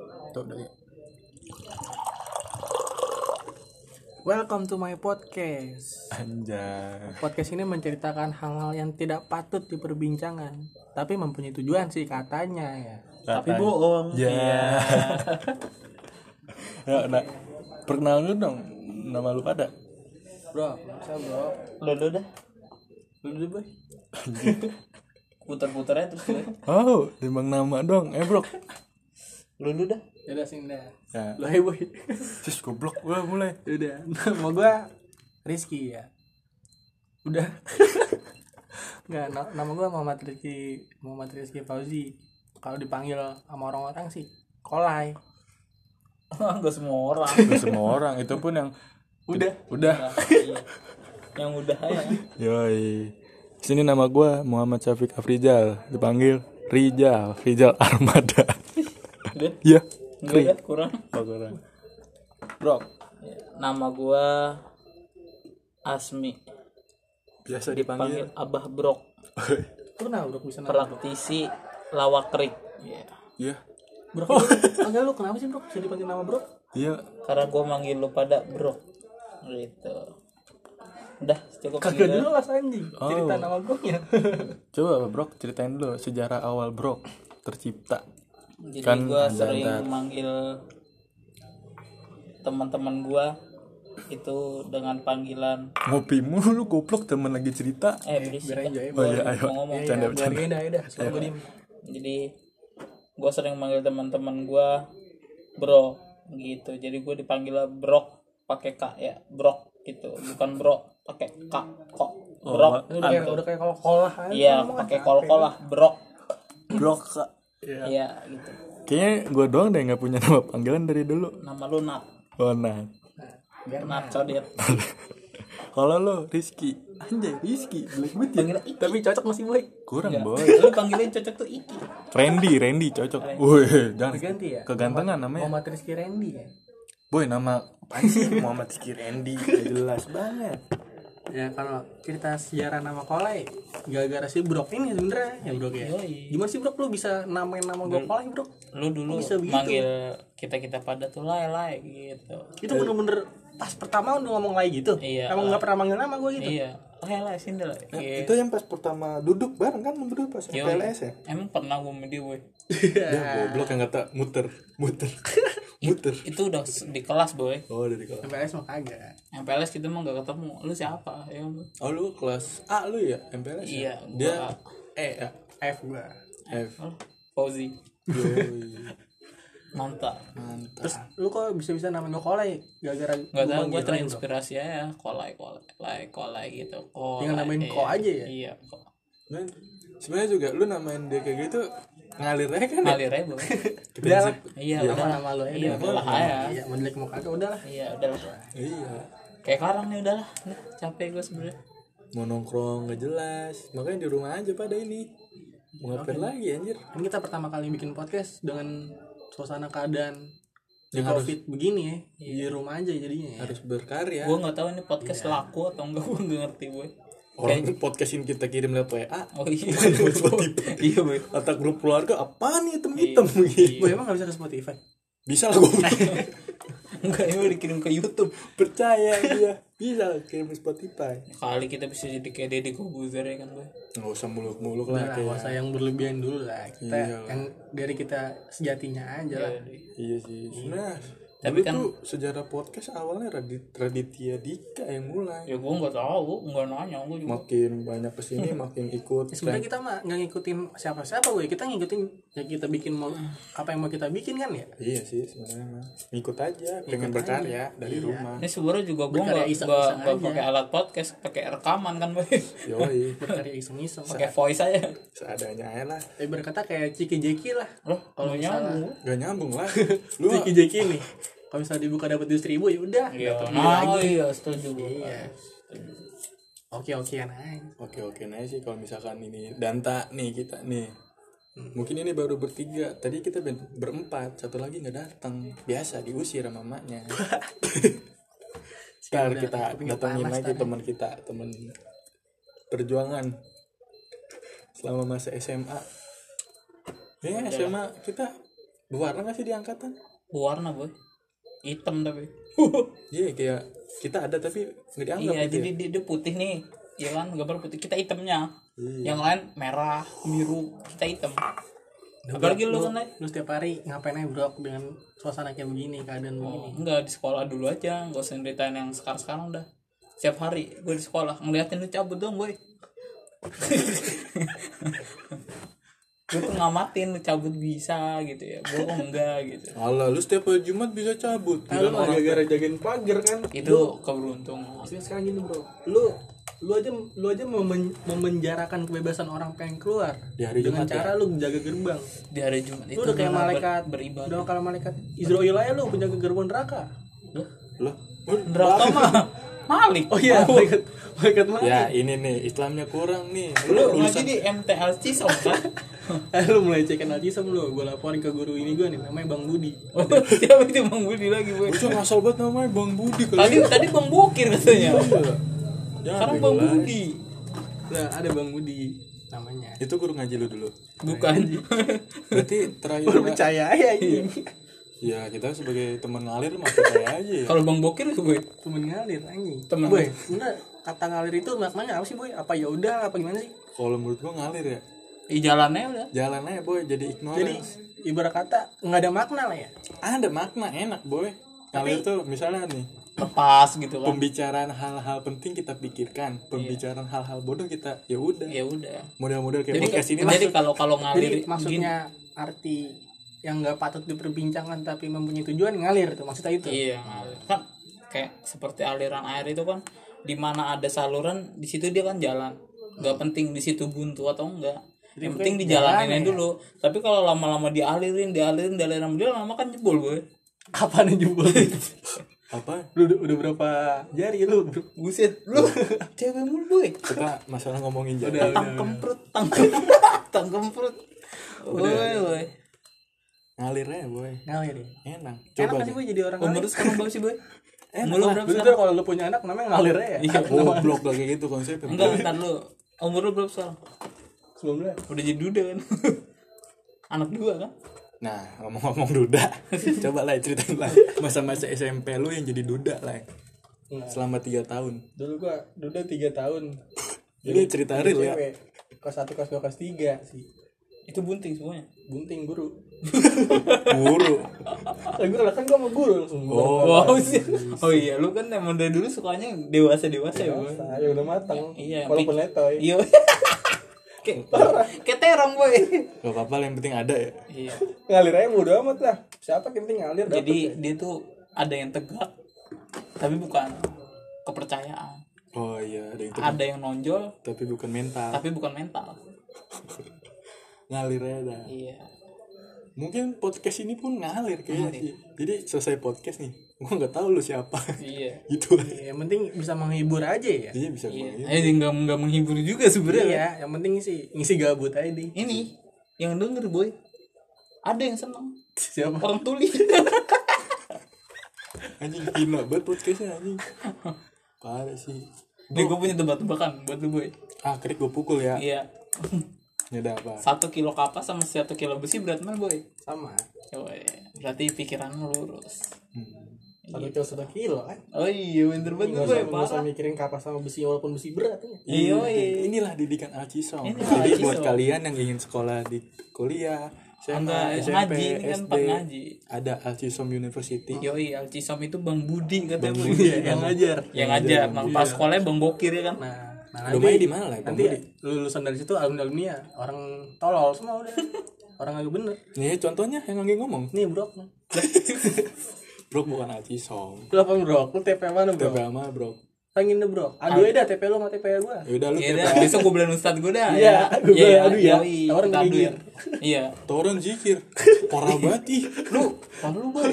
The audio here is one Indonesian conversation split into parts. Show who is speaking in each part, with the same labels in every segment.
Speaker 1: Tuh, udah ya. Welcome to my podcast.
Speaker 2: Anjay.
Speaker 1: Podcast ini menceritakan hal-hal yang tidak patut diperbincangkan, tapi mempunyai tujuan sih katanya ya. Tapi
Speaker 2: Katanya.
Speaker 1: bohong. Iya.
Speaker 2: Ya. ya, nah, perkenalan dulu dong nama lu pada.
Speaker 1: Bro, saya bro.
Speaker 3: Lo lo dah
Speaker 1: Lu dulu, Boy.
Speaker 3: putar-putar aja terus lo.
Speaker 2: Oh, timbang nama dong, eh bro.
Speaker 3: Lo lo dah.
Speaker 1: Ya udah sini dah.
Speaker 2: Ya.
Speaker 1: Lu hey, Boy.
Speaker 2: Sis goblok, gua mulai.
Speaker 1: udah. Mau gua Rizky ya. Udah. Enggak, na- nama gua Muhammad Rizky, Muhammad Rizky Fauzi. Kalau dipanggil sama orang-orang sih, kolai.
Speaker 3: Enggak semua orang.
Speaker 2: Gak semua orang itu pun yang
Speaker 1: Udah.
Speaker 2: udah.
Speaker 3: Iya. Yang udah ya.
Speaker 2: Yoi. Sini nama gua Muhammad Syafiq Afrizal, dipanggil Rijal, Rijal Armada.
Speaker 3: Udah.
Speaker 2: Iya.
Speaker 3: Enggak dah kurang.
Speaker 2: Orang. Bro,
Speaker 3: Ya, Nama gua Asmi.
Speaker 2: biasa
Speaker 3: Panggil Abah Brok.
Speaker 1: Lu kenapa bro bisa nama?
Speaker 3: Praktisi lawak krik. Iya.
Speaker 2: Iya.
Speaker 1: Bro,
Speaker 3: Oh.
Speaker 1: enggak lu kenapa sih bro? Bisa dipanggil nama bro?
Speaker 2: Iya.
Speaker 3: Karena gua manggil lu pada Brok. Gitu. Udah, cukup
Speaker 1: Kagak
Speaker 3: segitu.
Speaker 1: jelas anjing cerita
Speaker 2: Oh.
Speaker 1: nama ya. blognya.
Speaker 2: Coba Bro ceritain dulu sejarah awal Bro tercipta.
Speaker 3: Jadi
Speaker 2: Kan
Speaker 3: gua
Speaker 2: ada-
Speaker 3: sering manggil teman-teman gua itu dengan panggilan
Speaker 2: Ngopi mulu goblok temen lagi cerita.
Speaker 3: eh berisik
Speaker 1: Biar enjoy.
Speaker 2: Oh iya ayo.
Speaker 3: mau ngomong
Speaker 2: Canda
Speaker 1: Ya,
Speaker 2: bercanda.
Speaker 1: biarin dah, ya dah. Sekarang gua diem.
Speaker 3: jadi gue sering manggil teman-teman gue bro gitu jadi gue dipanggil brok pakai k ya brok gitu bukan bro pakai k kok
Speaker 2: Oh,
Speaker 3: brok gitu.
Speaker 1: Lu udah kayak udah kayak kalau kolah aja.
Speaker 3: iya pakai kol-kol lah brok
Speaker 2: Bro Kak.
Speaker 3: iya gitu
Speaker 2: Kayaknya gue doang deh nggak punya nama panggilan dari dulu.
Speaker 3: nama lu nat
Speaker 2: Oh nah.
Speaker 1: Biar
Speaker 3: nat codet
Speaker 2: Kalau lo Rizky, anjay Rizky, black ya.
Speaker 3: panggil iki
Speaker 1: Tapi cocok masih boy.
Speaker 2: Kurang boy.
Speaker 3: lu panggilin cocok tuh iki
Speaker 2: Randy, Randy cocok. Wih, jangan
Speaker 1: Ganti ya.
Speaker 2: kegantengan namanya.
Speaker 1: Muhammad Rizky Randy ya.
Speaker 2: Boy nama Oh. apaan sih? Muhammad Rizky Randy, Nggak jelas banget.
Speaker 1: Ya kalau cerita sejarah nama kolai gara-gara si Brok ini sebenernya ya Brok ya. Gimana sih Brok lu bisa namain nama gua kolai Brok?
Speaker 3: lu dulu
Speaker 1: Bisa begitu?
Speaker 3: manggil kita kita pada tuh lai lai gitu
Speaker 1: Itu bener-bener pas pertama udah ngomong lai gitu.
Speaker 3: Iya.
Speaker 1: Emang nggak pernah manggil nama gua gitu.
Speaker 3: iya lai lai sindel gitu
Speaker 4: Itu yang pas pertama duduk bareng kan berdua pas
Speaker 3: Yoi.
Speaker 4: PLS ya?
Speaker 3: emang pernah gue sama dia weh Iya.
Speaker 2: Ya goblok yang kata muter, muter, muter.
Speaker 3: itu udah s- di kelas boy
Speaker 2: Oh dari kelas.
Speaker 1: MPLS mah kagak.
Speaker 3: MPLS kita mah gak ketemu lu siapa ya lu?
Speaker 2: Oh lu kelas A lu ya MPLS? ya?
Speaker 3: iya
Speaker 2: Dia
Speaker 3: gua
Speaker 2: E ya.
Speaker 1: F gua.
Speaker 2: F.
Speaker 3: Oh, Fauzi
Speaker 2: Yoi.
Speaker 3: mantap
Speaker 2: Mantap.
Speaker 1: Lu kok bisa-bisa namain gua kolai gara-gara gua
Speaker 3: nggak tahu gue
Speaker 1: manggil lain, Brok?
Speaker 3: terinspirasi aja kolai kolai kolai kolai gitu kolai
Speaker 1: Tinggal nambahin
Speaker 3: iya.
Speaker 1: ko aja ya?
Speaker 3: iya ko
Speaker 2: Dan Nah, sebenarnya juga lu namain dia kayak gitu ngalir aja kan?
Speaker 3: ngalir aja boy
Speaker 1: Udah lah.
Speaker 3: iya
Speaker 1: Nama
Speaker 3: udah
Speaker 1: nama lu
Speaker 3: iya
Speaker 1: ya. udah.
Speaker 3: udahlah aja
Speaker 1: Iya, mendelik mau kagak udah lah.
Speaker 3: iya udahlah
Speaker 2: Iya.
Speaker 3: kayak karang nih udahlah Nih, capek gue sebenernya
Speaker 2: Mau nongkrong gak jelas. Makanya di rumah aja pada ini. Mau ngapain lagi anjir?
Speaker 1: Ini kita pertama kali bikin podcast dengan suasana keadaan
Speaker 2: Yang harus
Speaker 1: covid begini ya di rumah aja jadinya ya.
Speaker 2: harus berkarya.
Speaker 3: gue nggak tahu ini podcast laku atau enggak gue nggak ngerti boy
Speaker 2: Orang podcastin kita kirim lewat WA
Speaker 3: oh iya
Speaker 2: Iya, boy. Atau grup keluarga apaan nih hitam-hitam
Speaker 3: Iya,
Speaker 2: gitu.
Speaker 1: Gue emang gak bisa ke Spotify.
Speaker 2: Bisa lah gue
Speaker 3: enggak ini udah dikirim ke YouTube
Speaker 2: percaya dia. Bisa lah, kirim di Spotify.
Speaker 3: kali kita bisa jadi kayak Deddy Kobuzer ya kan boy
Speaker 2: Nggak usah muluk-muluk
Speaker 1: Udah lah,
Speaker 2: lah
Speaker 3: Nah,
Speaker 2: kayak.
Speaker 1: nggak usah yang berlebihan dulu lah. Kita
Speaker 2: Iya.
Speaker 1: yang dari kita sejatinya aja lah.
Speaker 2: Iya sih. Sebenarnya
Speaker 3: Tapi
Speaker 2: tapi
Speaker 3: kan-
Speaker 2: tuh sejarah podcast awalnya Radit, Raditya Dika yang mulai.
Speaker 3: ya gue nggak tahu nggak nanya gue juga
Speaker 2: Makin banyak kesini makin ikut.
Speaker 1: Ya Sebenarnya kita mah nggak ngikutin siapa-siapa gue. Kita ngikutin yang kita bikin mau apa yang mau kita bikin kan ya.
Speaker 2: Iya sih sebenarnya mah. Ikut aja, Iya. pengen berkarya dari rumah.
Speaker 3: ini sebenarnya juga gue
Speaker 1: Berkarya
Speaker 3: nggak
Speaker 1: iseng-iseng
Speaker 3: nggak- nggak
Speaker 1: aja.
Speaker 3: pakai alat podcast pakai rekaman kan boy
Speaker 2: Yoi,
Speaker 1: Berkarya iseng-iseng.
Speaker 3: pakai voice aja
Speaker 2: seadanya aja lah.
Speaker 1: Eh berkata kayak Ciki Jeki lah.
Speaker 3: loh kalau nyambung
Speaker 2: Gak nyambung lah. Lu
Speaker 1: Ciki Jeki nih. Kalau misalnya dibuka dapat 200 ribu ya udah.
Speaker 3: iya
Speaker 1: Dapat beli
Speaker 3: nah
Speaker 1: lagi.
Speaker 3: iya setuju gue
Speaker 1: Iya. Oke-okean aja.
Speaker 2: Oke oke nah sih kalau misalkan ini danta nih kita nih mungkin ini baru bertiga tadi kita ben- berempat satu lagi nggak datang biasa diusir sama mamanya ntar
Speaker 3: Iya,
Speaker 2: kita
Speaker 1: kupingnya
Speaker 2: datangin
Speaker 1: panas,
Speaker 2: lagi teman kita teman perjuangan selama masa SMA ya SMA kita dua warna nggak sih di angkatan
Speaker 3: warna boy hitam tapi
Speaker 2: iya kayak kita ada tapi nggak
Speaker 1: Kan
Speaker 2: dianggap
Speaker 3: iya
Speaker 2: gitu ya.
Speaker 3: jadi dia, dia putih nih ya kan gambar putih kita hitamnya
Speaker 1: Iya.
Speaker 3: yang lain merah biru kita hitam apalagi lu kan Nay?
Speaker 1: lu setiap hari ngapain aja brok dengan suasana kayak begini keadaan begini
Speaker 3: Oh, enggak di sekolah dulu aja nggak usah ceritain yang sekarang sekarang udah setiap hari gue di sekolah ngeliatin lu cabut dong boy gue tuh ngamatin lu cabut bisa gitu ya gue kok enggak gitu
Speaker 2: Alah, lu setiap hari Jumat bisa cabut.
Speaker 4: Lu mah gara-gara jagain pagar kan.
Speaker 3: itu keberuntungan
Speaker 1: tapi sekarang gini bro lu lu aja lu aja memen- memenjarakan kebebasan orang pengen keluar
Speaker 2: Di hari
Speaker 1: dengan
Speaker 2: Jumat,
Speaker 1: cara lu menjaga gerbang
Speaker 3: di hari Jumat ya? itu
Speaker 1: lu udah kayak
Speaker 3: adalah ber-
Speaker 1: malaikat
Speaker 3: beribadah
Speaker 1: udah kalau malaikat Israel aja lu penjaga gerbang neraka
Speaker 3: Loh,
Speaker 2: Loh.
Speaker 3: neraka mah Malik
Speaker 1: oh iya malaikat malaikat mana
Speaker 3: Iya.
Speaker 2: Ya, ini nih Islamnya kurang nih.
Speaker 3: lu ngaji di MTL Cisong kan
Speaker 1: eh lu melecehkan Alcisem lu gue laporin ke guru ini gue nih namanya Bang Budi
Speaker 3: Waduh, Oh, siapa itu Bang Budi lagi boy
Speaker 2: Bocah ngasal banget namanya Bang Budi kali. ya.
Speaker 3: tadi tadi Bang Bokir katanya sekarang Bang Budi
Speaker 1: nah ada Bang Budi namanya
Speaker 2: Itu guru ngaji lu dulu.
Speaker 3: bukan
Speaker 2: Berarti terakhir
Speaker 1: baru percaya aja ini
Speaker 2: Ya, kita sebagai teman ngalir mah percaya aja ya.
Speaker 3: kalau Bang Bokir gue
Speaker 1: temen ngalir anjing
Speaker 3: Temen.
Speaker 1: boy bener kata ngalir itu maknanya apa sih boy apa ya udah apa gimana sih
Speaker 2: Kalau menurut gua ngalir ya.
Speaker 3: di jalannya udah
Speaker 2: Jalan aja boy jadi
Speaker 1: jadi
Speaker 2: ignorance.
Speaker 1: ibarat kata nggak ada makna lah ya
Speaker 2: Ada makna enak boy. Ngalir tuh misalnya nih
Speaker 3: lepas gitu kan
Speaker 2: pembicaraan hal-hal penting kita pikirkan,
Speaker 3: Iya.
Speaker 2: pembicaraan hal-hal bodoh kita ya udah.
Speaker 3: ya udah
Speaker 2: Model-model kayak
Speaker 3: jadi Nah.
Speaker 2: podcast ini lah.
Speaker 3: jadi kalau kalau
Speaker 1: jadi
Speaker 3: ngalir gini
Speaker 1: maksudnya arti yang nggak patut diperbincangkan tapi mempunyai tujuan ngalir tuh maksudnya itu
Speaker 3: iya ngalir kan kayak seperti aliran air itu kan di mana ada saluran di situ dia kan jalan nggak penting di situ buntu atau enggak yang penting dijalaninnya dulu tapi kalau lama-lama dialirin dialirin dialirin dia lama kan jebol boy
Speaker 1: kapan aja boy
Speaker 2: Apa?
Speaker 1: lu udah, udah berapa jari lu bro?
Speaker 3: buset lu cewek mulu boy
Speaker 2: Kita masalah ngomongin jalan.
Speaker 3: tang kemprut tang tang kemprut boy boy
Speaker 2: Ngalir aja boy.
Speaker 1: ngalir ya
Speaker 2: Enak.
Speaker 1: enak
Speaker 2: Coba
Speaker 1: kan sih boy jadi orang ngalir
Speaker 3: umur lu sekarang berapa sih boy umur lu
Speaker 1: Mulu
Speaker 3: berapa
Speaker 1: berapa
Speaker 3: sekarang
Speaker 1: kalau lu punya anak namanya ngalir aja
Speaker 2: Iya.
Speaker 1: ya?
Speaker 2: goblok gak kayak gitu konsepnya
Speaker 3: Iya, enggak ntar lu umur lu berapa sekarang
Speaker 1: 19
Speaker 3: udah jadi duda kan anak dua kan
Speaker 2: nah ngomong-ngomong duda coba lah ceritain lah masa-masa SMP lu yang jadi duda lah selama tiga tahun
Speaker 1: dulu gua duda 3 tahun
Speaker 2: ini cerita real ya
Speaker 1: cewek kelas 1 kelas 2 kelas 3 sih
Speaker 3: itu bunting semuanya
Speaker 1: bunting guru
Speaker 2: guru
Speaker 1: Lah guru lah kan gua sama guru langsung gua.
Speaker 3: wow sih oh iya lu kan emang dari dulu sukanya dewasa dewasa ya boy
Speaker 1: Nah, ya udah matang
Speaker 3: iya
Speaker 1: walaupun
Speaker 3: pik-
Speaker 1: letoy
Speaker 3: iya kayak kayak terong boy
Speaker 2: gak apa-apa lah, yang penting ada ya
Speaker 3: iya
Speaker 1: ngalir aja bodo amat lah siapa yang penting ngalir ya. dah.
Speaker 3: jadi dia tuh ada yang tegak tapi bukan kepercayaan
Speaker 2: oh iya ada itu
Speaker 3: ada yang nonjol
Speaker 2: tapi bukan mental
Speaker 3: tapi bukan mental
Speaker 2: ngalir aja dah.
Speaker 3: iya
Speaker 2: mungkin podcast ini pun ngalir kayaknya sih jadi selesai podcast nih gua nggak tahu lu siapa
Speaker 3: iya
Speaker 2: gitu lah
Speaker 1: Ya, yang penting bisa menghibur aja ya
Speaker 2: jadi bisa gua
Speaker 3: iya eh nggak nggak menghibur juga sebenarnya
Speaker 1: iya yang penting sih ngisi gabut aja deh
Speaker 3: ini yang denger boy ada yang seneng
Speaker 1: siapa
Speaker 3: orang tuli
Speaker 2: anjing gila banget podcastnya anjing parah sih
Speaker 3: nih gue punya tebak-tebakan buat lu boy
Speaker 2: ah krik gue pukul ya
Speaker 3: iya
Speaker 2: ini ada apa
Speaker 3: satu kilo kapas sama satu kilo besi berat mana boy
Speaker 1: sama
Speaker 3: Coba ya. berarti pikiran lu lurus
Speaker 1: satu kilo satu kilo kan
Speaker 3: oh iya bener banget
Speaker 1: nggak
Speaker 3: boy
Speaker 1: usah nggak usah
Speaker 3: parah
Speaker 1: mikirin kapas sama besi walaupun besi berat ya
Speaker 3: iya iya
Speaker 2: inilah didikan Alcisong
Speaker 3: Inilah
Speaker 2: jadi
Speaker 3: Alcisong.
Speaker 2: buat kalian yang ingin sekolah di kuliah SMA,
Speaker 3: Enggak,
Speaker 2: SMP,
Speaker 3: ngaji, ini kan
Speaker 2: SD
Speaker 3: tempat ngaji.
Speaker 2: ada Alcisong University
Speaker 3: Yoi, Alcisom itu Bang Budi katanya Bang
Speaker 2: Budi.
Speaker 1: Iya, yang ngajar
Speaker 3: Yang aja, Bang pas sekolahnya Bang Bokir ya kan.
Speaker 1: nah, nah
Speaker 2: rumahnya
Speaker 1: nanti
Speaker 2: di mana lah Bang
Speaker 1: nanti
Speaker 3: ya.
Speaker 2: Budi
Speaker 1: lulusan dari situ alumni alumni ya orang tolol semua udah orang agak bener
Speaker 2: nih ya, contohnya yang lagi ngomong
Speaker 1: nih bro lu
Speaker 2: bro bukan Alcisong
Speaker 1: apa bro lu TP mana bro
Speaker 2: TPA mah bro
Speaker 1: Tangin deh bro Aduh
Speaker 2: Ah.
Speaker 1: ya dah TP lu sama TP gua
Speaker 2: yaudah Ya lu
Speaker 3: Iya
Speaker 2: TPA
Speaker 3: dah, besok gue bilang ustad gue dah. kan?
Speaker 1: Iya, gua bilang, aduh ya,
Speaker 3: yoi,
Speaker 1: tawaran
Speaker 3: kita aduin.
Speaker 1: minggir.
Speaker 3: Iya.
Speaker 2: Toron zikir parah banget ih
Speaker 3: Lu, kalau lu boy.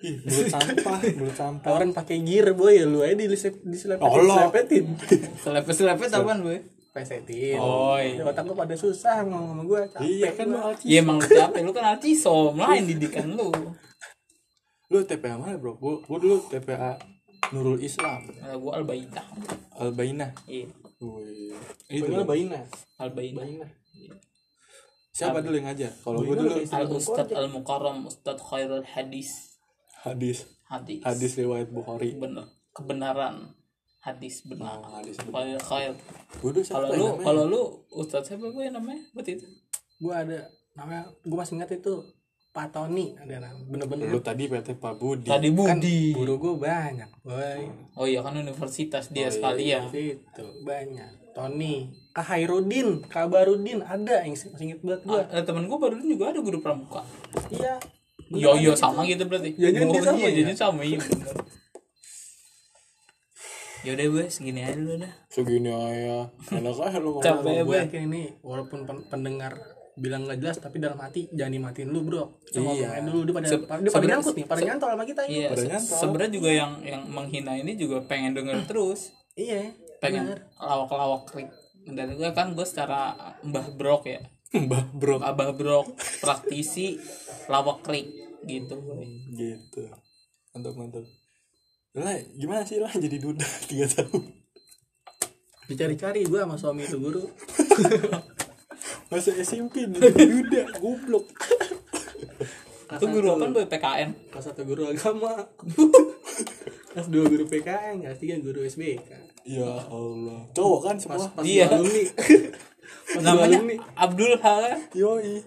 Speaker 2: Ih, mulut sampah mulut sampah
Speaker 1: Tawaran pakai gear boy Lu aja diselip- diselepetin
Speaker 2: Allah.
Speaker 1: Diselepetin
Speaker 3: Selepet-selepet apaan boy?
Speaker 1: Pesetin
Speaker 3: Oh, iya.
Speaker 1: Ya, otak lu pada susah ngomong sama gua capek
Speaker 2: iya kan lu
Speaker 1: gua.
Speaker 2: Alcisong
Speaker 3: Iya emang lu capek, lu kan Alcisom, lain didikan lu.
Speaker 2: lu TPA mana bro gua, gua dulu TPA Nurul Islam
Speaker 3: Nah, gue Albaida.
Speaker 2: Albainah
Speaker 3: Iya,
Speaker 2: Wih, itu
Speaker 1: Pokoknya lu baina
Speaker 3: Albaida.
Speaker 1: Baina
Speaker 2: Siapa dulu yang ngajar? Kalau gue dulu
Speaker 3: Al Ustadz Al Mukarram Ustadz Khairul Hadis
Speaker 2: hadis,
Speaker 3: hadis
Speaker 2: hadis riwayat Bukhari.
Speaker 3: bener kebenaran hadis benar
Speaker 2: Oh, hadis benar.
Speaker 3: Khairul Khair
Speaker 2: Gue dulu siapa
Speaker 3: kalau
Speaker 2: ya
Speaker 3: lu
Speaker 2: namanya?
Speaker 3: kalau lu Ustadz siapa gue namanya buat itu
Speaker 1: gue ada namanya gue masih ingat itu Pak Tony ada nama bener-bener
Speaker 2: Lu tadi PT Pak Budi.
Speaker 3: tadi
Speaker 1: kan
Speaker 3: Budi
Speaker 1: guru gue banyak boy
Speaker 3: oh iya kan universitas
Speaker 1: Oh, iya,
Speaker 3: dia ya. sekalian
Speaker 1: itu banyak Tony Kak Hairudin Kak Barudin ada yang masih inget banget gue
Speaker 3: Ah, temen gue baru juga ada guru pramuka
Speaker 1: iya
Speaker 3: Yo yo sama gitu berarti.
Speaker 1: Jajan dia
Speaker 3: Oh,
Speaker 1: sama
Speaker 3: iya,
Speaker 1: ya?
Speaker 3: jajan sama iya. bener. Yaudah gue segini aja dulu dah.
Speaker 2: Segini aja. Enak aja lu ngomong.
Speaker 1: gue
Speaker 3: Capek gue.
Speaker 1: yakin ini walaupun pen- pendengar bilang gak jelas tapi dalam hati jangan dimatiin lu bro sama
Speaker 2: Iya.
Speaker 1: main dulu dia pada
Speaker 3: Se-
Speaker 1: dia pada
Speaker 3: sebenarnya-
Speaker 1: nyangkut nih pada nyantol sama kita ini
Speaker 3: Iya.
Speaker 2: Padahal
Speaker 3: se-
Speaker 2: nyantol.
Speaker 3: Sebenarnya juga yang yang menghina ini juga pengen denger terus,
Speaker 1: iya
Speaker 3: pengen lawak-lawak krik. Dan gue kan gue secara mbah brok ya,
Speaker 2: Mbah bro
Speaker 3: abah brok praktisi lawak krik gitu. gue.
Speaker 2: gitu. Mantap mantap. Lah, gimana sih lah jadi duda 3 tahun?
Speaker 1: dicari-cari gue sama suami itu guru
Speaker 2: Masa SMP jadi duda goblok.
Speaker 3: Itu guru apa gue PKN?
Speaker 1: kelas satu guru agama kelas dua guru PKN kelas tiga guru SBK
Speaker 2: Ya Allah. Cowok kan semua.
Speaker 1: pas
Speaker 3: Iya.
Speaker 1: dua alumni pas dua
Speaker 3: Namanya
Speaker 1: alumni
Speaker 3: Abdul Hala,
Speaker 2: Yoi.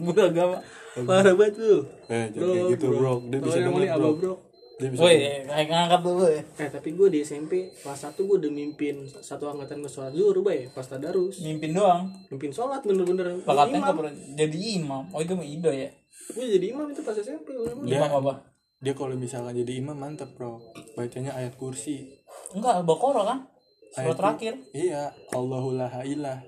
Speaker 3: guru agama.
Speaker 1: parah banget lu
Speaker 2: Eh, jangan kayak gitu, bro. Dia
Speaker 1: Kalau
Speaker 2: bisa
Speaker 1: yang
Speaker 2: denger,
Speaker 1: ini abah, bro.
Speaker 2: bro. Dia bisa.
Speaker 3: Woi, kayak ngangkat dulu ya.
Speaker 1: eh tapi gue di SMP kelas satu gue udah mimpin satu angkatan ke sholat zuhur bay pas tadarus
Speaker 3: Mimpin doang.
Speaker 1: mimpin sholat bener-bener
Speaker 3: Bakatnya
Speaker 1: Imam.
Speaker 3: nggak pernah jadi imam. Oh itu mah Ido ya.
Speaker 1: gue jadi imam itu pas SMP bener-bener.
Speaker 2: Dia-
Speaker 3: Imam apa?
Speaker 2: Dia kalau misalkan jadi imam mantap, bro. Bacanya ayat kursi.
Speaker 3: Enggak, Al-Baqarah kan? Surat
Speaker 2: Ayat-
Speaker 3: terakhir.
Speaker 2: Iya, Allahu la ilah.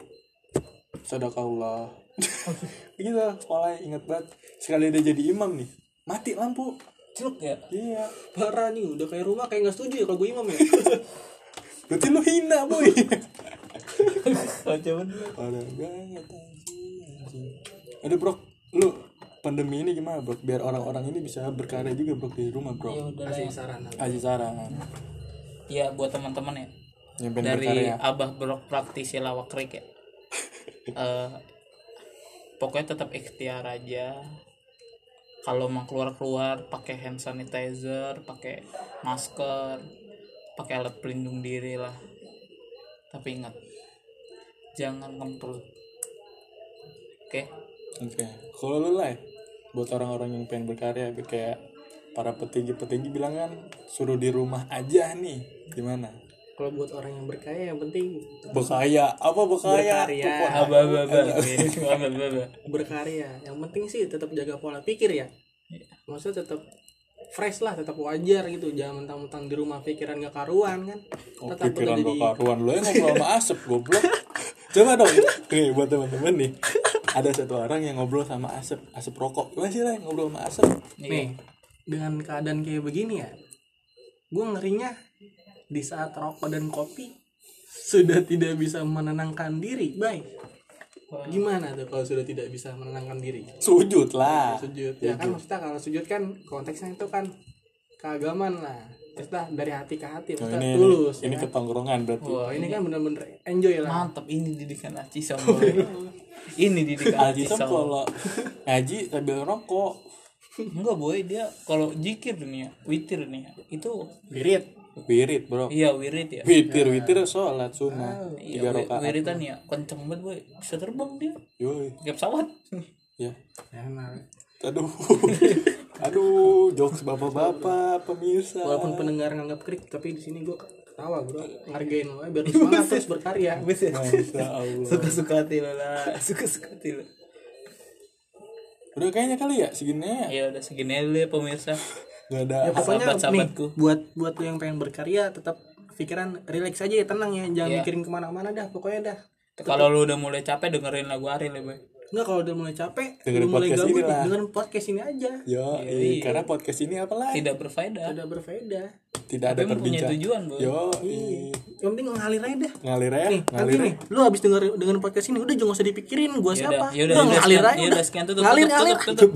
Speaker 2: Sadaqallah. gitu, sekolah ingat banget. Sekali dia jadi imam nih, mati lampu.
Speaker 3: Celuk ya.
Speaker 2: Iya.
Speaker 1: parah nih udah kayak rumah kayak nggak setuju ya kalau gue imam ya
Speaker 2: Berarti lu hina, boy.
Speaker 3: Kacau bener.
Speaker 2: Ada banget anjing, anjing. Aduh, Bro. Lu pandemi ini gimana, Bro? Biar orang-orang ini bisa berkarya juga, Bro, di rumah, Bro.
Speaker 3: Ya udah lah
Speaker 1: kasih
Speaker 3: ya.
Speaker 1: saran Abi.
Speaker 2: Kasih saran.
Speaker 3: Ya buat teman-teman ya.
Speaker 2: Yang ya. pengen
Speaker 3: Dari
Speaker 2: berkarya.
Speaker 3: Abah Brok Praktisi Lawak Krik ya. Eh, pokoknya tetap ikhtiar aja. Kalau mau keluar-keluar pakai hand sanitizer, pakai masker, pakai alat pelindung diri lah. Tapi ingat, jangan kemprut. Oke.
Speaker 2: Oke. Kalau lu lah, buat orang-orang yang pengen berkarya kayak para petinggi-petinggi bilang kan suruh di rumah aja nih. Gimana?
Speaker 1: kalau buat orang yang berkaya yang penting
Speaker 2: Bekaya, apa bekaya?
Speaker 1: Berkarya.
Speaker 2: Kok-
Speaker 3: Abah, abah, abah. Abah, abah, abah.
Speaker 1: berkarya yang penting sih tetap jaga pola pikir ya maksudnya tetap fresh lah tetap wajar gitu jangan mentang-mentang di rumah pikiran gak karuan kan
Speaker 2: Oh,
Speaker 1: tetap
Speaker 2: pikiran
Speaker 1: udah
Speaker 2: gak karuan lu yang ngobrol sama asap goblok. Coba dong. Nih buat teman-teman nih. Ada satu orang yang ngobrol sama asap, asap rokok. Gimana sih lah yang ngobrol sama asap?
Speaker 1: nih dengan keadaan kayak begini ya gue ngerinya di saat rokok dan kopi sudah tidak bisa menenangkan diri baik gimana tuh kalau sudah tidak bisa menenangkan diri
Speaker 2: Sujud lah.
Speaker 1: sujud ya kan maksudnya kalau sujud kan konteksnya itu kan keagamaan lah maksudnya dari hati ke hati
Speaker 2: Nah,
Speaker 1: maksudnya
Speaker 2: ini ini,
Speaker 1: tulus ya
Speaker 2: ini
Speaker 1: kan?
Speaker 2: ketongkrongan berarti.
Speaker 1: Wah, ini kan bener-bener enjoy lah
Speaker 3: Mantap, ini didikan Aci Somboy. ini didikan Aci
Speaker 2: Aljisom
Speaker 3: Somboy.
Speaker 2: kalau ngaji sambil rokok.
Speaker 3: Enggak boy, dia kalau jikir dunia, witir nih, ya, itu
Speaker 1: Wirid
Speaker 2: Wirid, Bro.
Speaker 3: iya wirid ya.
Speaker 2: Witir, witir sholat sunnah
Speaker 3: Iya,
Speaker 2: tiga
Speaker 3: wi-
Speaker 2: rakaat.
Speaker 3: wiritan ya, kenceng banget boy, bisa terbang dia,
Speaker 2: Yoi.
Speaker 3: kayak pesawat.
Speaker 2: Ya.
Speaker 1: Emang.
Speaker 2: Aduh. Aduh, jokes bapak-bapak pemirsa.
Speaker 1: walaupun pendengar nganggap krik tapi di sini gue ketawa bro hargain lo biar lu semangat terus berkarya
Speaker 2: Masya Allah.
Speaker 3: Suka-suka hati lo lah, suka-suka hati lo.
Speaker 2: Udah kayaknya kali ya segini ya.
Speaker 3: Ya udah segini aja dulu ya pemirsa.
Speaker 2: Gak ada.
Speaker 1: ya pokoknya nih
Speaker 3: Sahabat-sahabatku.
Speaker 1: buat buat lo yang pengen berkarya tetap pikiran relax aja ya tenang ya jangan
Speaker 3: Iya.
Speaker 1: mikirin kemana-mana dah pokoknya dah
Speaker 3: Kalau lu udah mulai capek dengerin lagu Ariel ya boy.
Speaker 1: Enggak kalau udah mulai capek, udah
Speaker 2: Dengerin
Speaker 1: mulai
Speaker 2: podcast
Speaker 1: gabut,
Speaker 2: ini lah.
Speaker 1: dengerin podcast ini aja.
Speaker 2: Ya,
Speaker 3: Iya,
Speaker 2: karena podcast ini apalah
Speaker 3: Tidak berfaedah,
Speaker 1: Udah berfaedah.
Speaker 2: tidak ada
Speaker 3: Iya. tapi punya
Speaker 2: perbincangan.
Speaker 3: tujuan boy.
Speaker 2: Yo,
Speaker 1: Yang penting ngalir aja dah.
Speaker 2: ngalir ya,
Speaker 1: Nih, nanti
Speaker 2: ngalir.
Speaker 1: nih, lu habis denger dengan podcast ini udah jangan usah dipikirin gua siapa.
Speaker 3: Yaudah, yaudah,
Speaker 1: ngalir
Speaker 3: ya sekian-
Speaker 1: aja.
Speaker 3: yaudah,
Speaker 1: udah.
Speaker 3: sekian, tutup,
Speaker 1: Ngalir,
Speaker 3: tutup,
Speaker 1: ngalir.
Speaker 3: tutup, tutup.